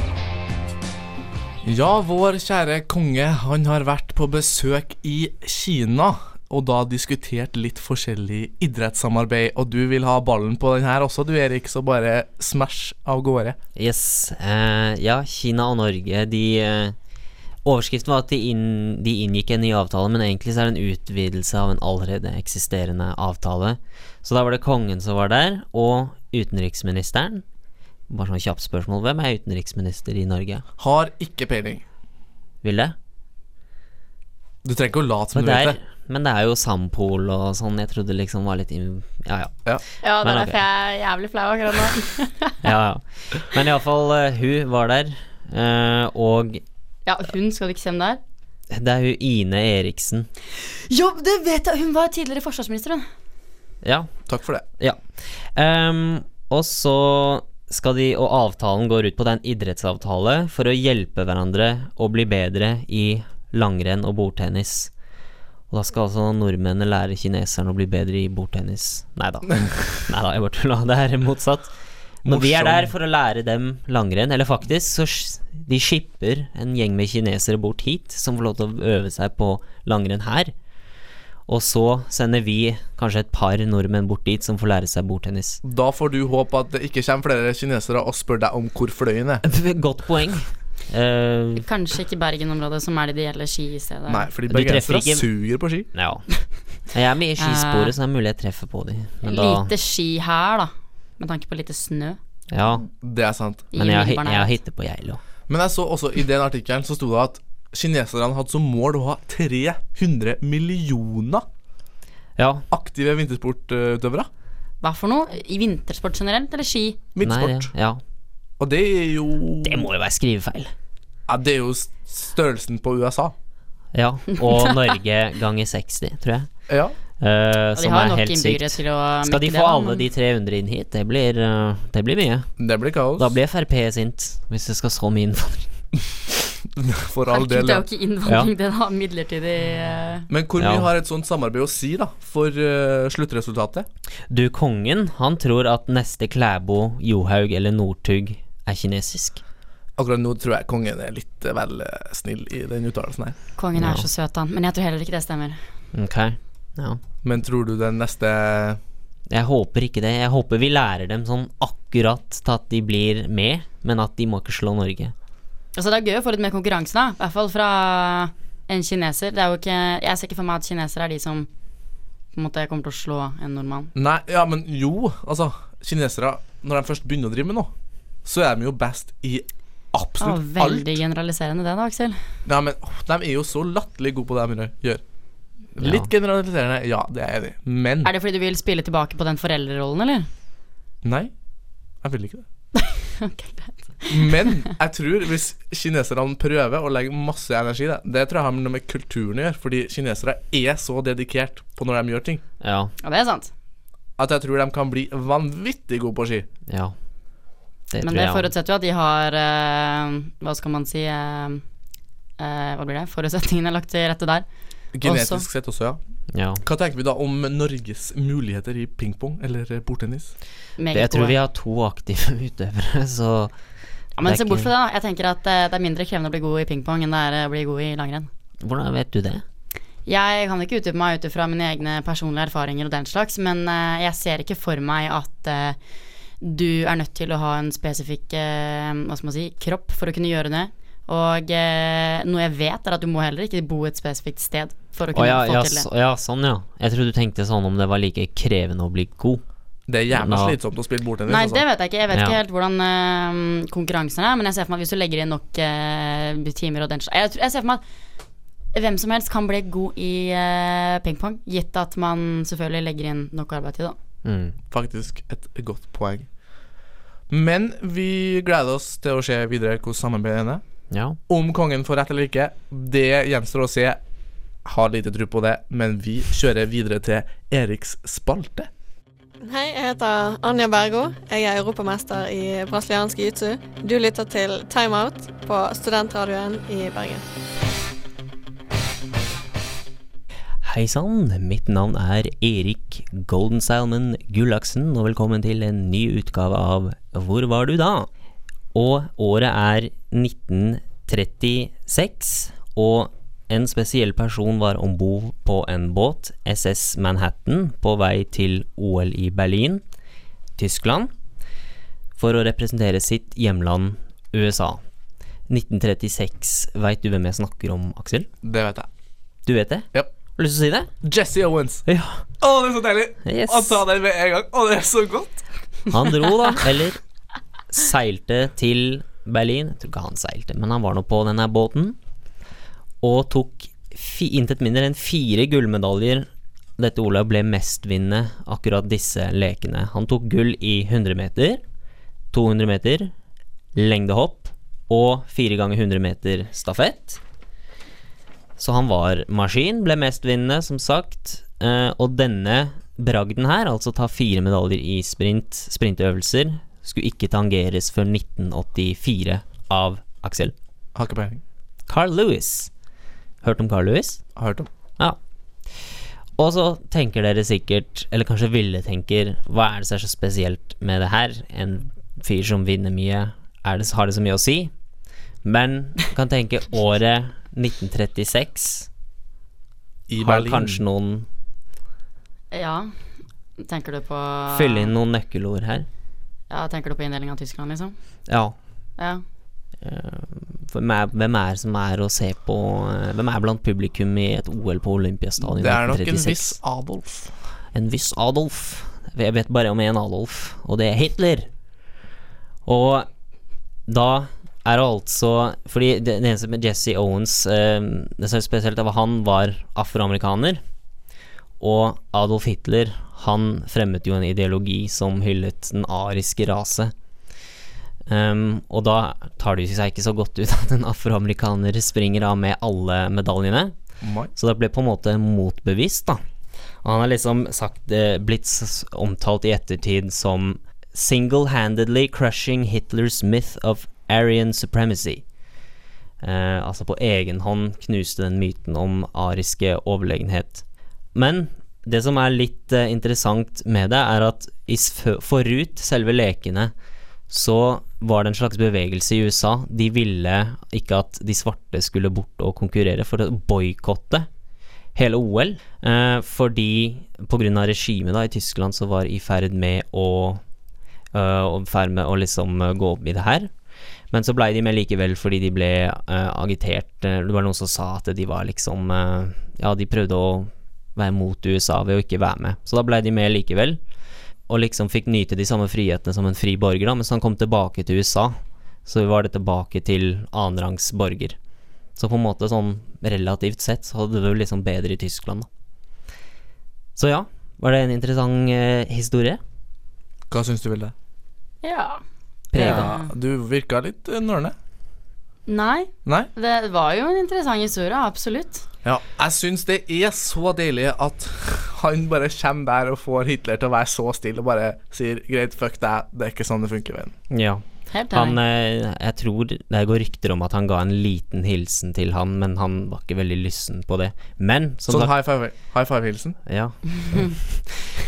Speaker 5: Ja, vår kjære konge, han har vært på besøk i Kina. Og da diskutert litt forskjellig idrettssamarbeid. Og du vil ha ballen på den her også, du Erik, så bare smash av gårde.
Speaker 6: Yes. Eh, ja, Kina og Norge, de eh, Overskriften var at de, inn, de inngikk en ny avtale, men egentlig så er det en utvidelse av en allerede eksisterende avtale. Så da var det kongen som var der, og utenriksministeren. Bare sånn kjapt spørsmål. Hvem er utenriksminister i Norge?
Speaker 5: Har ikke peiling.
Speaker 6: Ville?
Speaker 5: Du trenger ikke å late som
Speaker 6: Men
Speaker 5: du
Speaker 6: det,
Speaker 5: vet det.
Speaker 6: er, men det er jo Sampol og sånn. Jeg trodde liksom var litt in... Ja, ja.
Speaker 5: Ja.
Speaker 7: Ja, det
Speaker 6: Men
Speaker 7: er
Speaker 6: ok.
Speaker 7: derfor jeg er jævlig flau akkurat nå.
Speaker 6: ja, ja. Men iallfall, hun var der. eh, og
Speaker 7: Ja, hun skal du ikke se om det er.
Speaker 6: det er hun Ine Eriksen.
Speaker 7: Jo, det vet jeg! Hun var tidligere forsvarsminister, hun.
Speaker 6: Ja,
Speaker 5: Takk for det.
Speaker 6: Ja. Ehm, og så skal de, og avtalen går ut på det er en idrettsavtale for å hjelpe hverandre å bli bedre i langrenn og bordtennis. Og da skal altså nordmennene lære kineserne å bli bedre i bordtennis. Nei da, jeg bare tulla. Det er motsatt. Men vi er
Speaker 5: Morsom.
Speaker 6: der for å lære dem langrenn. Eller faktisk, så sh- de skipper en gjeng med kinesere bort hit, som får lov til å øve seg på langrenn her. Og så sender vi kanskje et par nordmenn bort dit som får lære seg bordtennis.
Speaker 5: Da får du håpe at det ikke kommer flere kinesere og spør deg om hvor fløyen er.
Speaker 6: Godt poeng. Eh,
Speaker 7: Kanskje ikke Bergen-området, som er det ideelle skistedet.
Speaker 5: Nei, fordi
Speaker 6: Du
Speaker 5: bergensere
Speaker 6: treffer ikke-
Speaker 5: suger på ski.
Speaker 6: ja. Jeg er med i skisporet, så det er mulig jeg treffer på de. Men da
Speaker 7: Eh, Lite ski her, da. Med tanke på lite snø.
Speaker 6: Ja.
Speaker 5: Det er sant.
Speaker 7: i
Speaker 6: Men jeg, har-
Speaker 7: umiddelbar
Speaker 6: jeg har
Speaker 7: nærhet.
Speaker 6: hytte på Geilo.
Speaker 5: Men jeg så også i den artikkelen så sto det at kineserne hadde som mål å ha 300 millioner
Speaker 6: Ja.
Speaker 5: aktive vintersportutøvere.
Speaker 7: Hva for noe? I vintersport generelt, eller ski?
Speaker 6: Nei, det,
Speaker 5: Midtsport.
Speaker 6: ja.
Speaker 5: Og det er jo
Speaker 6: det må jo være skrivefeil.
Speaker 5: ja, Det er jo s- størrelsen på USA.
Speaker 6: Ja. Og Norge ganger 60, tror jeg.
Speaker 5: Ja.
Speaker 6: Eh,
Speaker 7: Og de
Speaker 6: som
Speaker 7: har
Speaker 6: er
Speaker 7: nok
Speaker 6: helt
Speaker 7: innbyggere
Speaker 6: sykt.
Speaker 7: til å
Speaker 6: Skal de
Speaker 7: mekke
Speaker 6: få
Speaker 7: det, da,
Speaker 6: alle
Speaker 7: men-
Speaker 6: de 300 inn hit? Det blir, eh, det blir mye.
Speaker 5: Det blir kaos.
Speaker 6: Da blir Frp sint, hvis det skal så mye innvandring.
Speaker 5: For all
Speaker 7: Herregud,
Speaker 5: del.
Speaker 7: Det er
Speaker 5: ja.
Speaker 7: jo ikke innvandring, det da. Midlertidig eh,
Speaker 5: Men hvor
Speaker 6: Ja.
Speaker 5: mye har et sånt samarbeid å si da for eh, sluttresultatet?
Speaker 6: Du, kongen, han tror at neste Klæbo, Johaug eller Northug er kinesisk.
Speaker 5: Akkurat nå tror jeg kongen er litt eh, vel eh, snill i den uttalelsen her.
Speaker 7: Kongen
Speaker 6: Ja.
Speaker 7: er så søt, han. Men jeg tror heller ikke det stemmer.
Speaker 6: Ok. Ja.
Speaker 5: Men tror du den neste
Speaker 6: Jeg håper ikke det. Jeg håper vi lærer dem sånn akkurat til at de blir med, men at de må ikke slå Norge.
Speaker 7: Altså, det er gøy å få litt mer konkurranse, da. I hvert fall fra en kineser. Det er jo ikke, jeg ser ikke for meg at kinesere er de som på en måte kommer til å slå en nordmann.
Speaker 5: Nei, ja, men jo, altså Kinesere, når de først begynner å drive med noe Så er de jo best i absolutt
Speaker 7: Å, Ah, veldig
Speaker 5: alt
Speaker 7: generaliserende det da, Aksel.
Speaker 5: Nei, men åh, de er jo så latterlig gode på det de gjør Litt generaliserende, ja, det er de Men,
Speaker 7: Er det fordi du vil spille tilbake på den foreldrerollen, eller?
Speaker 5: nei, jeg vil ikke det Men, jeg tror hvis kineserne prøver å legge masse energi i det Det tror jeg har noe med kulturen å gjøre Fordi kinesere er så dedikert på når de gjør ting
Speaker 6: Ja,
Speaker 7: Ja, det er sant.
Speaker 5: At jeg tror de kan bli vanvittig gode på ski
Speaker 6: ja. Det
Speaker 7: Men
Speaker 6: tror
Speaker 7: det
Speaker 6: jeg også.
Speaker 7: forutsetter jo at de har eh, Hva skal man si eh, eh, Hva blir det? Forutsetningene er lagt til rette der.
Speaker 5: Genetisk
Speaker 7: Også.
Speaker 5: sett også, ja.
Speaker 6: Ja.
Speaker 5: Hva tenker vi da om Norges muligheter i pingpong eller eh, bordtennis?
Speaker 7: Meget
Speaker 6: Jeg tror
Speaker 7: gode.
Speaker 6: vi har to aktive utøvere, så
Speaker 7: Ja, men
Speaker 6: det er
Speaker 7: se bort
Speaker 6: ikke-
Speaker 7: fra det, da. Jeg tenker at eh, det er mindre krevende å bli god i pingpong enn det er eh, å bli god i langrenn.
Speaker 6: Hvordan vet du det?
Speaker 7: Jeg kan ikke utdype meg ut ifra mine egne personlige erfaringer og den slags, men eh, jeg ser ikke for meg at eh, du er nødt til å ha en spesifikk eh, hva skal man si, kropp for å kunne gjøre det. Og eh, noe jeg vet, er at du må heller ikke bo et spesifikt sted for å
Speaker 6: Å
Speaker 7: kunne
Speaker 6: ja,
Speaker 7: få
Speaker 6: ja,
Speaker 7: til det.
Speaker 6: så, ja, sånn ja. Jeg trodde du tenkte sånn om det var like krevende å bli god.
Speaker 5: Det er jævla
Speaker 6: Nå.
Speaker 5: slitsomt å spille bordtennis.
Speaker 7: Nei,
Speaker 5: altså.
Speaker 7: det vet jeg ikke. Jeg vet
Speaker 6: Ja.
Speaker 7: ikke helt hvordan eh, konkurransen er, men jeg ser for meg at hvis du legger inn nok eh, timer og den slags jeg, tror- jeg ser for meg at hvem som helst kan bli god i eh, pingpong, gitt at man selvfølgelig legger inn nok arbeid til det.
Speaker 6: Mm.
Speaker 5: Faktisk et godt poeng. Men vi gleder oss til å se videre hvordan samarbeidet ender.
Speaker 6: Ja.
Speaker 5: Om kongen får rett eller ikke, det gjenstår å se. Har lite tro på det, men vi kjører videre til Eriks spalte.
Speaker 12: Hei, jeg heter Anja Bergo. Jeg er europamester i brasiliansk jiu-jitsu. Du lytter til Timeout på studentradioen i Bergen.
Speaker 6: Hei sann, mitt navn er Erik Golden Salmon Gullaksen, og velkommen til en ny utgave av Hvor var du da? Og året er 1936, og en spesiell person var om bord på en båt, SS Manhattan, på vei til OL i Berlin, Tyskland, for å representere sitt hjemland USA. 1936, veit du hvem jeg snakker om, Aksel?
Speaker 5: Det vet jeg.
Speaker 6: Du vet det?
Speaker 5: Yep.
Speaker 6: Har du lyst til å si det?
Speaker 5: Jesse Owens.
Speaker 6: Ja.
Speaker 5: Å, det er så deilig!
Speaker 6: Yes.
Speaker 5: Han sa det med en gang. Å, det er så godt.
Speaker 6: Han dro, da. Eller seilte til Berlin. Jeg tror ikke han seilte, men han var nå på denne båten. Og tok fi, intet mindre enn fire gullmedaljer. Dette Olav ble mestvinnende akkurat disse lekene. Han tok gull i 100 meter, 200 meter, lengdehopp og 4 ganger 100 meter stafett. Så han var maskin, ble mestvinnende, som sagt. Eh, og denne bragden her, altså ta fire medaljer i sprint, sprintøvelser, skulle ikke tangeres før 1984 av Aksel.
Speaker 5: Har ikke peiling.
Speaker 6: Carl Lewis. Hørt om Carl Lewis?
Speaker 5: Hørt om.
Speaker 6: Ja. Og så tenker dere sikkert, eller kanskje ville tenker, hva er det som er så spesielt med det her? En fyr som vinner mye, er det, har det så mye å si? Men du kan tenke året 1936
Speaker 5: I
Speaker 6: har
Speaker 5: Berlin.
Speaker 6: kanskje noen
Speaker 7: Ja. Tenker du på
Speaker 6: Fylle inn noen nøkkelord her.
Speaker 7: Ja, tenker du på inndelinga av Tyskland, liksom?
Speaker 6: Ja.
Speaker 7: Ja.
Speaker 6: Eh, Hvem er, hvem er som er å se på eh, Hvem er blant publikum i et OL på Olympiastadion?
Speaker 5: Det er nok en
Speaker 6: 1936?
Speaker 5: viss Adolf.
Speaker 6: En viss Adolf. Jeg vet bare om én Adolf, og det er Hitler. Og da er det altså Fordi det, det eneste med Jesse Owens eh, Det som er spesielt, var han var afroamerikaner. Og Adolf Hitler han fremmet jo en ideologi som hyllet den ariske rase. Ehm, og da tar det jo seg ikke så godt ut at en afroamerikaner springer av med alle medaljene.
Speaker 5: Nei.
Speaker 6: Så det ble på en måte motbevist, da. Og han har liksom sagt, eh, blitt s- omtalt i ettertid som Single-handedly crushing Hitlers myth of Aryan supremacy. Eh, altså på egen hånd knuste den myten om ariske overlegenhet. Men det som er litt eh, interessant med det, er at i s- fø- forut selve lekene så var det en slags bevegelse i USA. De ville ikke at de svarte skulle bort og konkurrere, for å boikotte hele OL. Eh, fordi pga. regimet da, i Tyskland så øh, var øh, i ferd med å eh, og ferd med å liksom eh, gå opp i det her. Men så blei de med likevel fordi de ble eh, agitert. Eh, Det var noen som sa at de var liksom eh, Ja, de prøvde å være mot USA ved å ikke være med. Så da blei de med likevel. Og liksom fikk nyte de samme frihetene som en fri borger, da. Mens han kom tilbake til USA, så var det tilbake til annenrangs borger. Så på en måte sånn relativt sett så hadde det jo liksom bedre i Tyskland, da. Så ja, var det en interessant eh, historie?
Speaker 5: Hva syns du, Vilde?
Speaker 7: Ja.
Speaker 5: Ja, du virka litt eh, nølende.
Speaker 7: Nei.
Speaker 5: Nei?
Speaker 7: Det var jo en interessant historie, absolutt.
Speaker 5: Ja, jeg syns det er så deilig at han bare kommer der og får Hitler til å være så stille og bare sier 'greit, fuck deg', det er ikke sånn det funker, venn.
Speaker 6: Ja.
Speaker 7: Helt
Speaker 6: Han, eh, jeg tror det går rykter om at han ga en liten hilsen til han, men han var ikke veldig lysten på det. Men som
Speaker 5: Sånn
Speaker 6: sagt
Speaker 5: high five- high five-hilsen?
Speaker 6: Ja.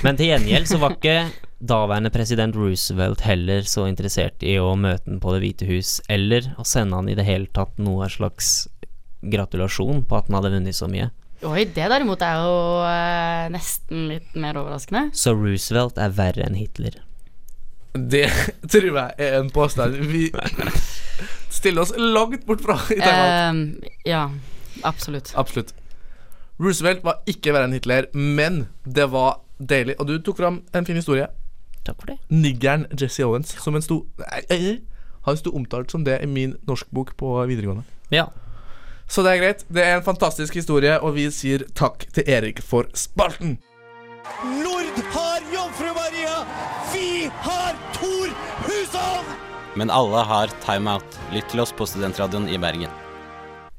Speaker 6: Men til gjengjeld så var ikke daværende president Roosevelt heller så interessert i å møte han på Det hvite hus, eller å sende han i det hele tatt noe slags gratulasjon på at han hadde vunnet så mye.
Speaker 7: Oi, det derimot er jo eh, nesten litt mer overraskende.
Speaker 6: Så Roosevelt er verre enn Hitler.
Speaker 5: Det tror jeg er en påstand vi stiller oss langt bort fra i
Speaker 6: Eh.
Speaker 5: Thailand.
Speaker 7: Ehm, ja, absolutt.
Speaker 5: Absolutt. Roosevelt var ikke verre enn Hitler, men det var deilig. Og du tok fram en fin historie.
Speaker 6: Takk for det.
Speaker 5: Niggeren Jesse Owens, som en sto Nei, ei, ei. Han sto omtalt som det i min norskbok på videregående.
Speaker 6: Ja.
Speaker 5: Så det er greit. Det er en fantastisk historie, og vi sier takk til Erik for spalten.
Speaker 1: Nord har Jomfru Maria. Vi har Thor Hushovd.
Speaker 13: Men alle har timeout. Lytt til oss på Studentradioen i Bergen.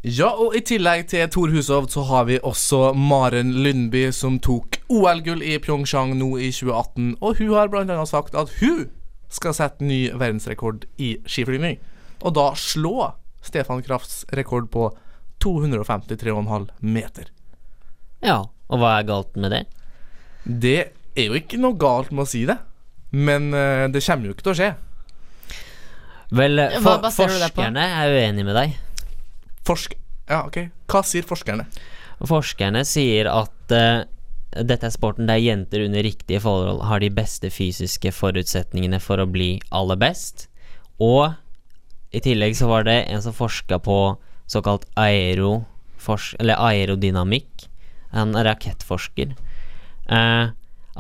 Speaker 5: Ja, og i tillegg til Thor Hushovd så har vi også Maren Lundby, som tok OL-gull i Pyeongchang nå i 2018. Og hun har blant annet sagt at hun skal sette ny verdensrekord i skiflygning. Og da slå Stefan Krafts rekord på 253,5 meter.
Speaker 6: Ja, og hva er galt med det?
Speaker 5: Det er jo ikke noe galt med å si det, men eh, det kommer jo ikke til å skje.
Speaker 6: Vel, eh,
Speaker 5: Hva
Speaker 6: for,
Speaker 5: baserer du det på?
Speaker 6: forskerne er uenige med deg.
Speaker 5: Forsk... Ja, ok. Hva sier forskerne?
Speaker 6: Forskerne sier at eh, dette er sporten der jenter under riktige forhold har de beste fysiske forutsetningene for å bli aller best. Og i tillegg så var det en som forska på såkalt aero, fors- eller aerodynamikk. En rakettforsker. Eh,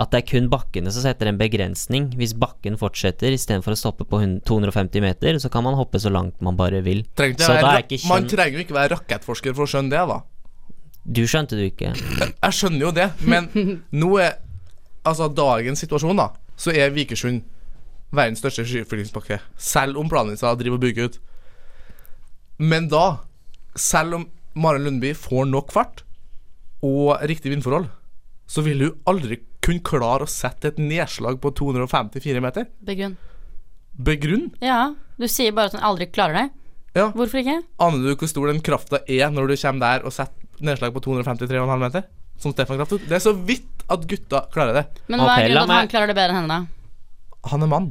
Speaker 6: at det er kun bakkene som setter en begrensning. Hvis bakken fortsetter istedenfor å stoppe på hun- 250 meter, så kan man hoppe så langt man bare vil.
Speaker 5: Trenger ikke
Speaker 6: så
Speaker 5: være
Speaker 6: da
Speaker 5: ra-
Speaker 6: er ikke
Speaker 5: Man
Speaker 6: kjønn
Speaker 5: trenger jo ikke være rakettforsker for å skjønne det, da.
Speaker 6: Du skjønte du ikke.
Speaker 5: Jeg skjønner jo det, men nå er Altså, dagens situasjon, da, så er Vikersund verdens største skyflygingspakke. Selv om Planica driver og bygger ut. Men da, selv om Maren Lundby får nok fart og riktig vindforhold, så vil hun aldri kunne klare å sette et nedslag på 254 meter.
Speaker 7: Begrunn.
Speaker 5: Begrunn.
Speaker 7: Ja, du sier bare at han aldri klarer det.
Speaker 5: Ja.
Speaker 7: Hvorfor ikke?
Speaker 5: Aner du hvor stor den krafta er når du kommer der og setter nedslag på 253,5 meter? Som Stefan Kraft tok. Det er så vidt at gutta klarer det.
Speaker 7: Men hva er grunnen til at han klarer det bedre enn henne, da?
Speaker 5: Han er mann.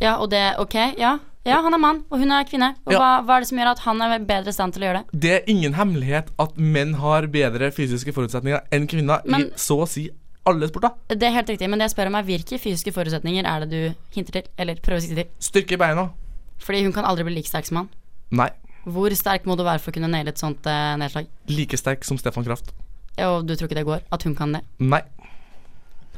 Speaker 7: Ja, og det Ok, ja. Ja, han er mann, og hun er kvinne. Og
Speaker 5: Ja.
Speaker 7: hva, hva er det som gjør at han er bedre i stand til å gjøre det?
Speaker 5: Det er ingen hemmelighet at menn har bedre fysiske forutsetninger enn kvinner
Speaker 7: Men-
Speaker 5: i så å si alle sporter.
Speaker 7: Det er helt riktig, men det jeg spør om er hvilke fysiske forutsetninger er det du hinter til? Eller prøver å sikte til?
Speaker 5: Styrke i beina.
Speaker 7: Fordi hun kan aldri bli like sterk som han.
Speaker 5: Nei.
Speaker 7: Hvor sterk må du være for å kunne naile et sånt eh, nedslag?
Speaker 5: Like sterk som Stefan Kraft.
Speaker 7: Og du tror ikke det går? At hun kan det?
Speaker 5: Nei.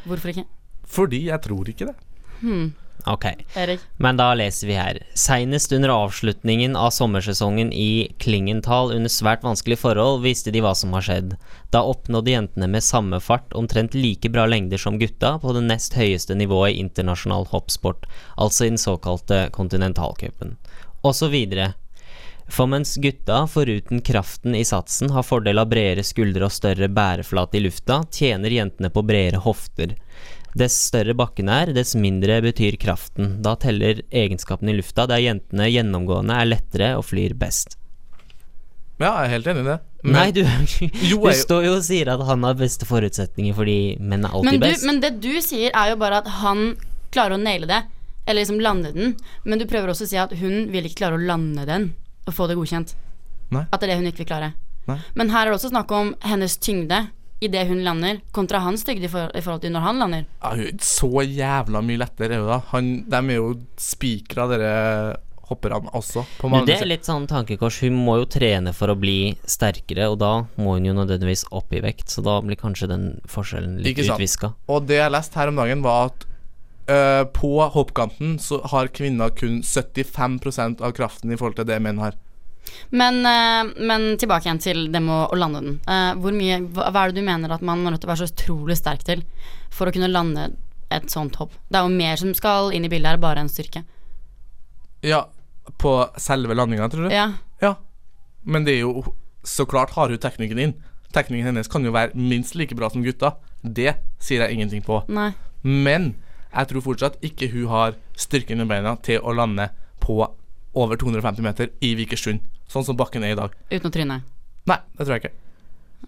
Speaker 7: Hvorfor ikke?
Speaker 5: Fordi jeg tror ikke det.
Speaker 7: Hmm.
Speaker 6: Ok.
Speaker 7: Erik.
Speaker 6: Men da leser vi her. Seinest under avslutningen av sommersesongen i Klingenthal under svært vanskelige forhold visste de hva som har skjedd. Da oppnådde jentene med samme fart omtrent like bra lengder som gutta på det nest høyeste nivået i internasjonal hoppsport, altså i den såkalte kontinentalcupen. Og så videre. For mens gutta, foruten kraften i satsen, har fordel av bredere skuldre og større bæreflate i lufta, tjener jentene på bredere hofter. Dess større bakken er, dess mindre betyr kraften. Da teller egenskapen i lufta, der jentene gjennomgående er lettere og flyr best.
Speaker 5: Ja, jeg er helt enig i det. Men-
Speaker 6: Nei, du,
Speaker 5: Jo,
Speaker 6: du
Speaker 5: jeg-
Speaker 6: står jo og sier at han har beste forutsetninger fordi menn er alltid
Speaker 7: Men, du,
Speaker 6: best.
Speaker 7: men det du sier er jo bare at han klarer å naile det, eller liksom lande den. Men du prøver også å si at hun vil ikke klare å lande den og få det godkjent.
Speaker 5: Nei.
Speaker 7: At det er det hun ikke vil klare.
Speaker 5: Nei.
Speaker 7: Men her er det også snakk om hennes tyngde idet hun lander, kontra hans tyngde i, for, i forhold til når han lander.
Speaker 5: Ja, hun er ikke så jævla mye lettere, er hun da. Han, de er jo spikra, dere hopper han også. På
Speaker 6: Men
Speaker 5: mange
Speaker 6: det er litt sånn tankekors. Hun må jo trene for å bli sterkere, og da må hun jo nødvendigvis opp i vekt, så da blir kanskje den forskjellen litt
Speaker 5: Ikke sant?
Speaker 6: utviska.
Speaker 5: Og det jeg leste her om dagen, var at eh, på hoppkanten så har kvinner kun 75 av kraften i forhold til det menn har.
Speaker 7: Men, eh, men tilbake igjen til det med å- å lande den. Eh, Hvor mye, hva hva er det du mener at man er nødt til å være så utrolig sterk til for å kunne lande et sånt hopp? Det er jo mer som skal inn i bildet her, bare en styrke.
Speaker 5: Ja, på selve landinga, tror du?
Speaker 7: Ja.
Speaker 5: Men det er jo Så klart har hun teknikken inn. Teknikken hennes kan jo være minst like bra som gutta. Det sier jeg ingenting på.
Speaker 7: Nei.
Speaker 5: Men jeg tror fortsatt ikke hun har styrken i beina til å lande på over 250 meter i Vikersund, sånn som bakken er i dag.
Speaker 7: Uten å tryne.
Speaker 5: Nei, det tror jeg ikke.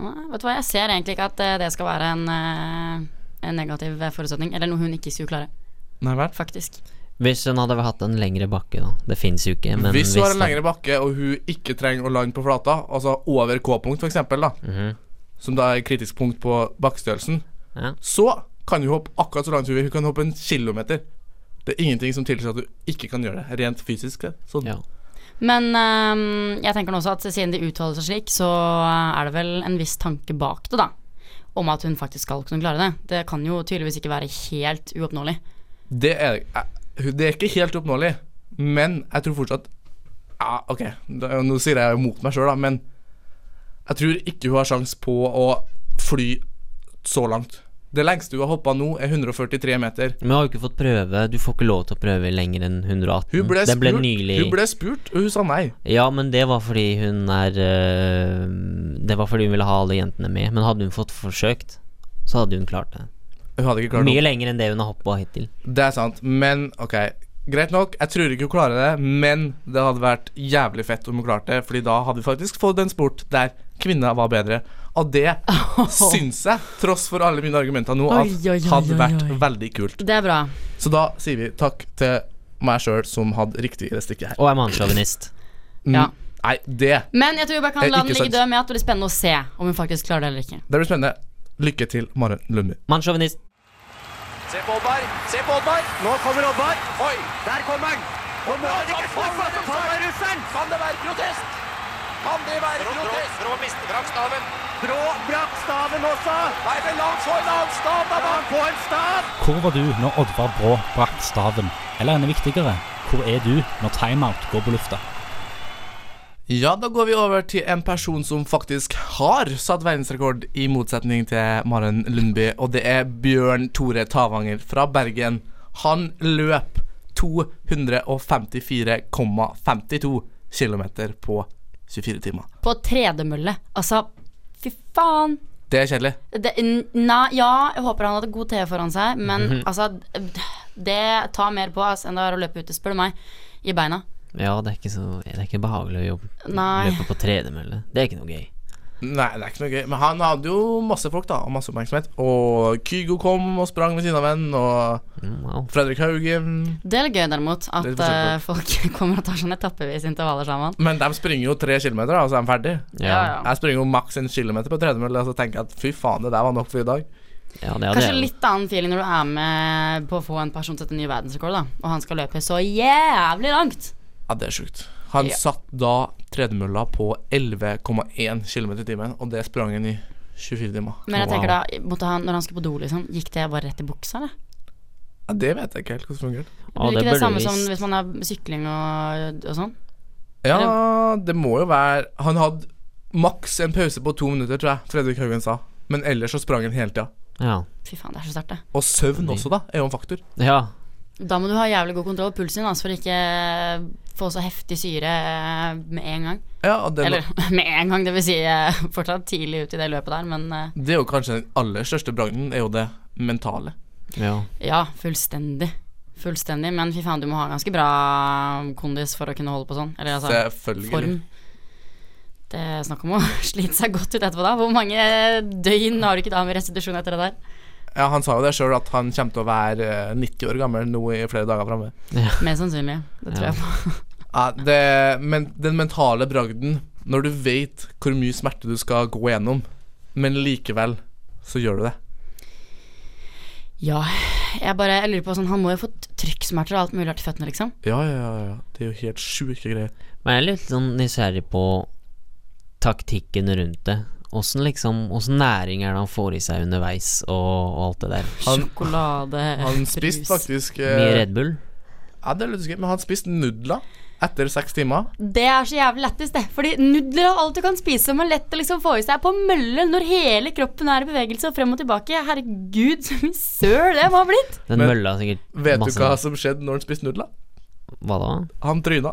Speaker 7: Nei, Vet du hva, jeg ser egentlig ikke at eh, det skal være en, eh, en negativ forutsetning. Eller noe hun ikke skulle klare.
Speaker 5: Nei vel?
Speaker 7: Faktisk.
Speaker 6: Hvis hun hadde hatt en lengre bakke, da. Det fins jo ikke, men
Speaker 5: hvis hun har en
Speaker 6: det-
Speaker 5: lengre bakke og hun ikke trenger å lande på flata, altså over K-punkt f.eks., da,
Speaker 6: Mhm.
Speaker 5: som da er kritisk punkt på bakkestørrelsen, så kan hun hoppe akkurat så langt hun vil. Hun kan hoppe en kilometer. Det er ingenting som tilsier at hun ikke kan gjøre det, rent fysisk. det. Sånn.
Speaker 7: Men ehm, jeg tenker nå også at siden de uttaler seg slik, så er det vel en viss tanke bak det, da. Om at hun faktisk skal kunne klare det. Det kan jo tydeligvis ikke være helt uoppnåelig.
Speaker 5: Det, er, eh, det er ikke helt oppnåelig, men jeg tror fortsatt ja, OK, da- nå sier jeg jo mot meg sjøl, da, men jeg tror ikke hun har sjans på å fly så langt. Det lengste hun har hoppa nå, er 143 meter.
Speaker 6: Men hun har jo ikke fått prøve. Du får ikke lov til å prøve lenger enn 118.
Speaker 7: Mm.
Speaker 5: Hun ble,
Speaker 6: det ble
Speaker 5: spurt,
Speaker 6: nylig
Speaker 5: hun ble spurt, og hun sa nei.
Speaker 6: Ja, men det var fordi hun er øh, Det var fordi hun ville ha alle jentene med. Men hadde hun fått forsøkt, så hadde hun klart det.
Speaker 5: Hun hadde ikke klart
Speaker 6: Mye
Speaker 5: noe.
Speaker 6: lenger enn det hun har hoppa hittil.
Speaker 5: Det er sant, men ok. Greit nok, jeg tror ikke hun klarer det, men det hadde vært jævlig fett om hun klarte det, Fordi da hadde vi faktisk fått en sport der kvinner var bedre. Og det syns jeg, tross for alle mine argumenter nå, at
Speaker 7: Oi, oi, oi,
Speaker 5: hadde
Speaker 7: oi,
Speaker 5: vært
Speaker 7: oi.
Speaker 5: veldig kult.
Speaker 7: Det er bra.
Speaker 5: Så da sier vi takk til meg sjøl som hadde riktig i det stikket her.
Speaker 6: Og er mannssjåvinist.
Speaker 7: Ja.
Speaker 5: Nei, det
Speaker 7: Men jeg tror vi bare
Speaker 5: Mm. Eh,
Speaker 7: kan la den
Speaker 5: ikke
Speaker 7: ligge
Speaker 5: sant.
Speaker 7: død med at det blir spennende å se om hun faktisk klarer det eller ikke.
Speaker 5: Det blir spennende. Lykke til, Maren Lundby.
Speaker 6: Mannssjåvinist.
Speaker 2: Se på Oddvar, se på Oddvar. Nå kommer Oddvar. Oi, der kommer han. Nå må han ikke få for å ta av russeren. Kan det være protest? Kan det være protest? Brå brakk staven. Brå brakk staven også. Nei, men la han få en annen stav, da. La han få en stav.
Speaker 14: Hvor var du når Oddvar Brå brakk staven? Eller enda viktigere, hvor er du når timeout går på lufta?
Speaker 5: Ja, da går vi over til en person som faktisk har satt verdensrekord, i motsetning til Maren Lundby, og det er Bjørn Tore Tavanger fra Bergen. Han løp 254,52 km på 24 timer.
Speaker 7: På tredemølle. Altså, fy faen.
Speaker 5: Det er kjedelig.
Speaker 7: Det, n- nei, ja, jeg håper han hadde god TV foran seg, men
Speaker 5: Mhm.
Speaker 7: altså d- Det tar mer på ass, enn det er å løpe ute, spør du meg, i beina.
Speaker 6: Ja, det er ikke så Det er ikke behagelig å jobbe.
Speaker 7: Nei.
Speaker 6: Løpe på tredemølle. Det er ikke noe gøy.
Speaker 5: Nei, det er ikke noe gøy. Men han hadde jo masse folk, da, og masse oppmerksomhet. Og Kygo kom og sprang ved siden av en,
Speaker 6: Mm,
Speaker 5: og Fredrik Haugen
Speaker 7: Det er litt gøy, derimot, at
Speaker 5: Det er forskjell
Speaker 7: eh, folk kommer og tar sånne etappevis intervaller sammen.
Speaker 5: Men de springer jo tre kilometer, da, og så er de ferdig.
Speaker 7: Ja, ja.
Speaker 5: Jeg springer jo maks en kilometer på tredemølle, og så tenker jeg at fy faen, det der var nok for i dag.
Speaker 7: Kanskje litt annen feeling når du er med på å få en person til et ny verdensrekord, da, og han skal løpe så jævlig langt.
Speaker 5: Ja, det er sjukt. Han
Speaker 7: Ja.
Speaker 5: satt da tredemølla på 11,1 km i timen, og det sprang han i 24 timer.
Speaker 7: Men jeg tenker da, måtte han, når han skulle på do, liksom, gikk det bare rett i buksa, eller?
Speaker 5: ja, Det vet jeg ikke helt hvordan det fungerer.
Speaker 7: Blir ikke det samme som hvis man har sykling og, og sånn?
Speaker 5: Ja, det må jo være Han hadde maks en pause på to minutter, tror jeg Fredrik Haugen sa. Men ellers så sprang han hele tida.
Speaker 6: Ja.
Speaker 7: Fy faen, det er så sterkt, det.
Speaker 5: Og søvn også, da, er jo en faktor.
Speaker 6: Ja.
Speaker 7: Da må du ha jævlig god kontroll på pulsen din, altså, for ikke få så heftig syre eh, med en gang.
Speaker 5: Ja, og det,
Speaker 7: Eller med en gang, det vil si eh, fortsatt tidlig ut i det løpet der, men eh,
Speaker 5: det er jo kanskje den aller største bragden, er jo det mentale.
Speaker 6: Ja.
Speaker 7: ja, fullstendig. Fullstendig, men fy faen, du må ha ganske bra kondis for å kunne holde på sånn. Eller altså
Speaker 5: Selvfølgelig.
Speaker 7: form. Det er snakk om å slite seg godt ut etterpå, da. Hvor mange døgn har du ikke da med restitusjon etter det der?
Speaker 5: Ja, Han sa jo det sjøl, at han kommer til å være eh, 90 år gammel nå i flere dager framme.
Speaker 7: Mest sannsynlig. Det tror
Speaker 5: Ja.
Speaker 7: jeg på.
Speaker 5: Ja, det, men den mentale bragden, når du vet hvor mye smerte du skal gå gjennom, men likevel så gjør du det.
Speaker 7: Ja, jeg bare jeg lurer på sånn Han må jo ha fått trykksmerter og alt mulig rart i føttene, liksom.
Speaker 5: Ja, ja, ja, ja. Det er jo helt sjuke greier.
Speaker 6: Men jeg er litt sånn nysgjerrig på taktikken rundt det. Åssen liksom, åssen næring er det han får i seg underveis, og, og alt det der.
Speaker 7: Sjokolade,
Speaker 5: Han spiste faktisk eh,
Speaker 6: Mye Red Bull.
Speaker 5: Ja, det er litt skøy, men han spiste nudler etter seks timer.
Speaker 7: Det er så jævlig lættis, det. Fordi nudler og alt du kan spise som er lett å liksom få i seg på mølle når hele kroppen er i bevegelse og frem og tilbake. Herregud, så mye søl det må ha blitt.
Speaker 6: Den
Speaker 5: Men
Speaker 6: mølla har sikkert
Speaker 5: Vet
Speaker 6: masse
Speaker 5: du hva som skjedde når han spiste nudler?
Speaker 6: Hva da?
Speaker 5: Han tryna.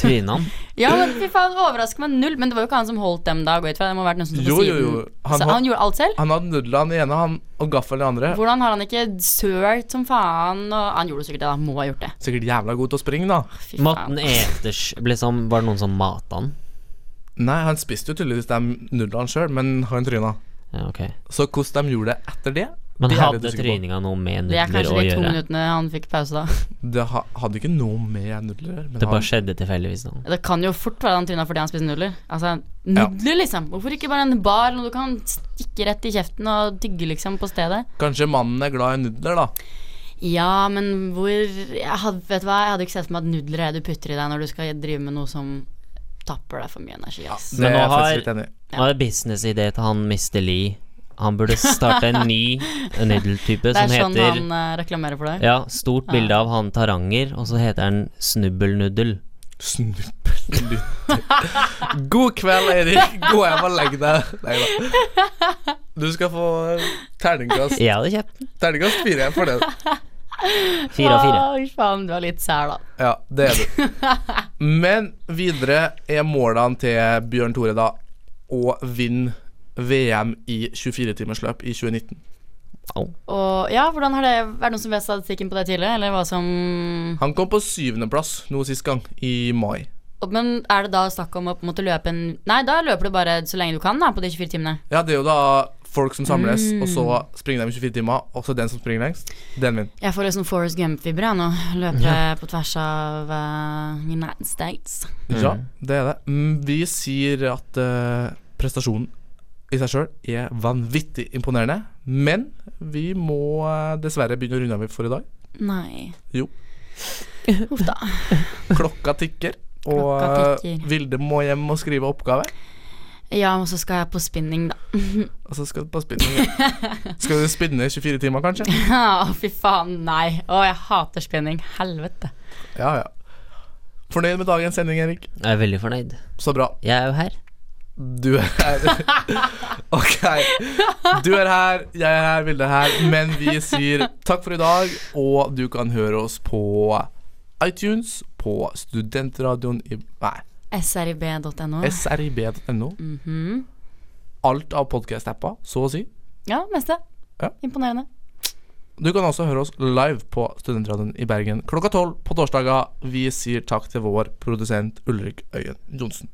Speaker 6: Tryna han?
Speaker 7: Ja, men fy faen, det overrasker meg null. Men det var jo ikke han som holdt dem da, går jeg ut fra. Det må ha vært noen som sto på
Speaker 5: Jo, jo,
Speaker 7: siden.
Speaker 5: jo.
Speaker 7: så
Speaker 5: had-
Speaker 7: han gjorde alt selv?
Speaker 5: Han hadde nudlene i ene han, og gaffelen i andre.
Speaker 7: Hvordan har han ikke sølt som faen? Og han gjorde det sikkert det, da. Må ha gjort det.
Speaker 5: Sikkert jævla god til å springe, da.
Speaker 6: Måten eters ble sånn, Var det noen som mata han?
Speaker 5: Nei, han spiste jo tydeligvis de nudlene sjøl, men han tryna.
Speaker 6: Ja, ok
Speaker 5: Så hvordan de gjorde det etter det
Speaker 6: Men
Speaker 5: det er jeg litt
Speaker 6: hadde
Speaker 5: usikker på.
Speaker 6: tryninga noe med
Speaker 7: Det er
Speaker 6: nudler
Speaker 7: kanskje
Speaker 6: å
Speaker 7: de to
Speaker 6: gjøre?
Speaker 7: minuttene han fikk pause, da.
Speaker 5: Det ha, hadde ikke noe med nudler å gjøre. men
Speaker 6: Det bare
Speaker 5: han-
Speaker 6: skjedde tilfeldigvis nå.
Speaker 7: Det kan jo fort være han tryna fordi han spiser nudler. Altså, nudler, liksom. Hvorfor ikke bare en bar, noe du kan stikke rett i kjeften og tygge, liksom, på stedet?
Speaker 5: Kanskje mannen er glad i nudler, da.
Speaker 7: Ja, men hvor jeg hadde, Vet du hva, jeg hadde ikke sett for meg at nudler er det du putter i deg når du skal drive med noe som tapper deg for mye energi. ass.
Speaker 6: Men nå har,
Speaker 5: enig i.
Speaker 6: nå har businessidé til han Mr. Lee. Han burde starte en ny nudeltype
Speaker 7: Det
Speaker 6: som
Speaker 7: er sånn
Speaker 6: heter
Speaker 7: han eh, reklamerer for deg.
Speaker 6: Ja, stort
Speaker 7: Ja.
Speaker 6: bilde av han Taranger, og så heter han Snubbelnudel.
Speaker 5: Snubbelnudel God kveld, Eirik. Gå hjem og legg deg. Nei da. Du skal få terningkast
Speaker 6: Jeg hadde kjøpt den.
Speaker 5: Terningkast fire for den.
Speaker 6: Fire av fire.
Speaker 7: Å, faen, du er litt sær, da.
Speaker 5: Ja, det er du. Men videre er målene til Bjørn Tore da å vinne VM i 24-timersløp i 2019.
Speaker 7: Og ja, hvordan har det Er det noen som vet statistikken på det tidligere, eller hva som
Speaker 5: Han kom på syvendeplass nå sist gang, i mai.
Speaker 7: Men er det da snakk om å på en måte løpe en Nei, da løper du bare så lenge du kan, da, på de 24 timene.
Speaker 5: Ja, det er jo da folk som samles,
Speaker 7: Mm.
Speaker 5: og så springer de i 24 timer, og så den som springer lengst, den vinner.
Speaker 7: Jeg får litt sånn Forest Gump-vibber jeg nå. Løpe
Speaker 5: Ja.
Speaker 7: på tvers av eh, United States.
Speaker 5: Ja, det er det. Mm, Vi sier at eh, prestasjonen i seg sjøl er vanvittig imponerende, men vi må eh, dessverre begynne å runde av for i dag.
Speaker 7: Nei.
Speaker 5: Jo.
Speaker 7: Uff da.
Speaker 5: Klokka tikker, og
Speaker 7: Klokka
Speaker 5: eh,
Speaker 7: tikker.
Speaker 5: Vilde må hjem og skrive oppgave.
Speaker 7: Ja, og så skal jeg på spinning, da.
Speaker 5: Og så skal du på spinning. igjen. skal du spinne i 24 timer, kanskje?
Speaker 7: Å, fy faen, nei. Å, jeg hater spinning. Helvete.
Speaker 5: Ja, ja. Fornøyd med dagens sending, Erik?
Speaker 6: Jeg er veldig fornøyd.
Speaker 5: Så bra.
Speaker 6: Jeg er jo her.
Speaker 5: Du er her. Ok. Du er her, jeg er her, Vilde er her. Men vi sier takk for i dag, og du kan høre oss på iTunes, på studentradioen i Nei,
Speaker 7: srib.no.
Speaker 5: srib.no.
Speaker 7: Mhm.
Speaker 5: Alt av podkast-apper, så å si.
Speaker 7: Ja, meste.
Speaker 5: Ja.
Speaker 7: Imponerende.
Speaker 5: Du kan også høre oss live på Studentradioen i Bergen klokka tolv på torsdager. Vi sier takk til vår produsent Ulrik Øyen Johnsen.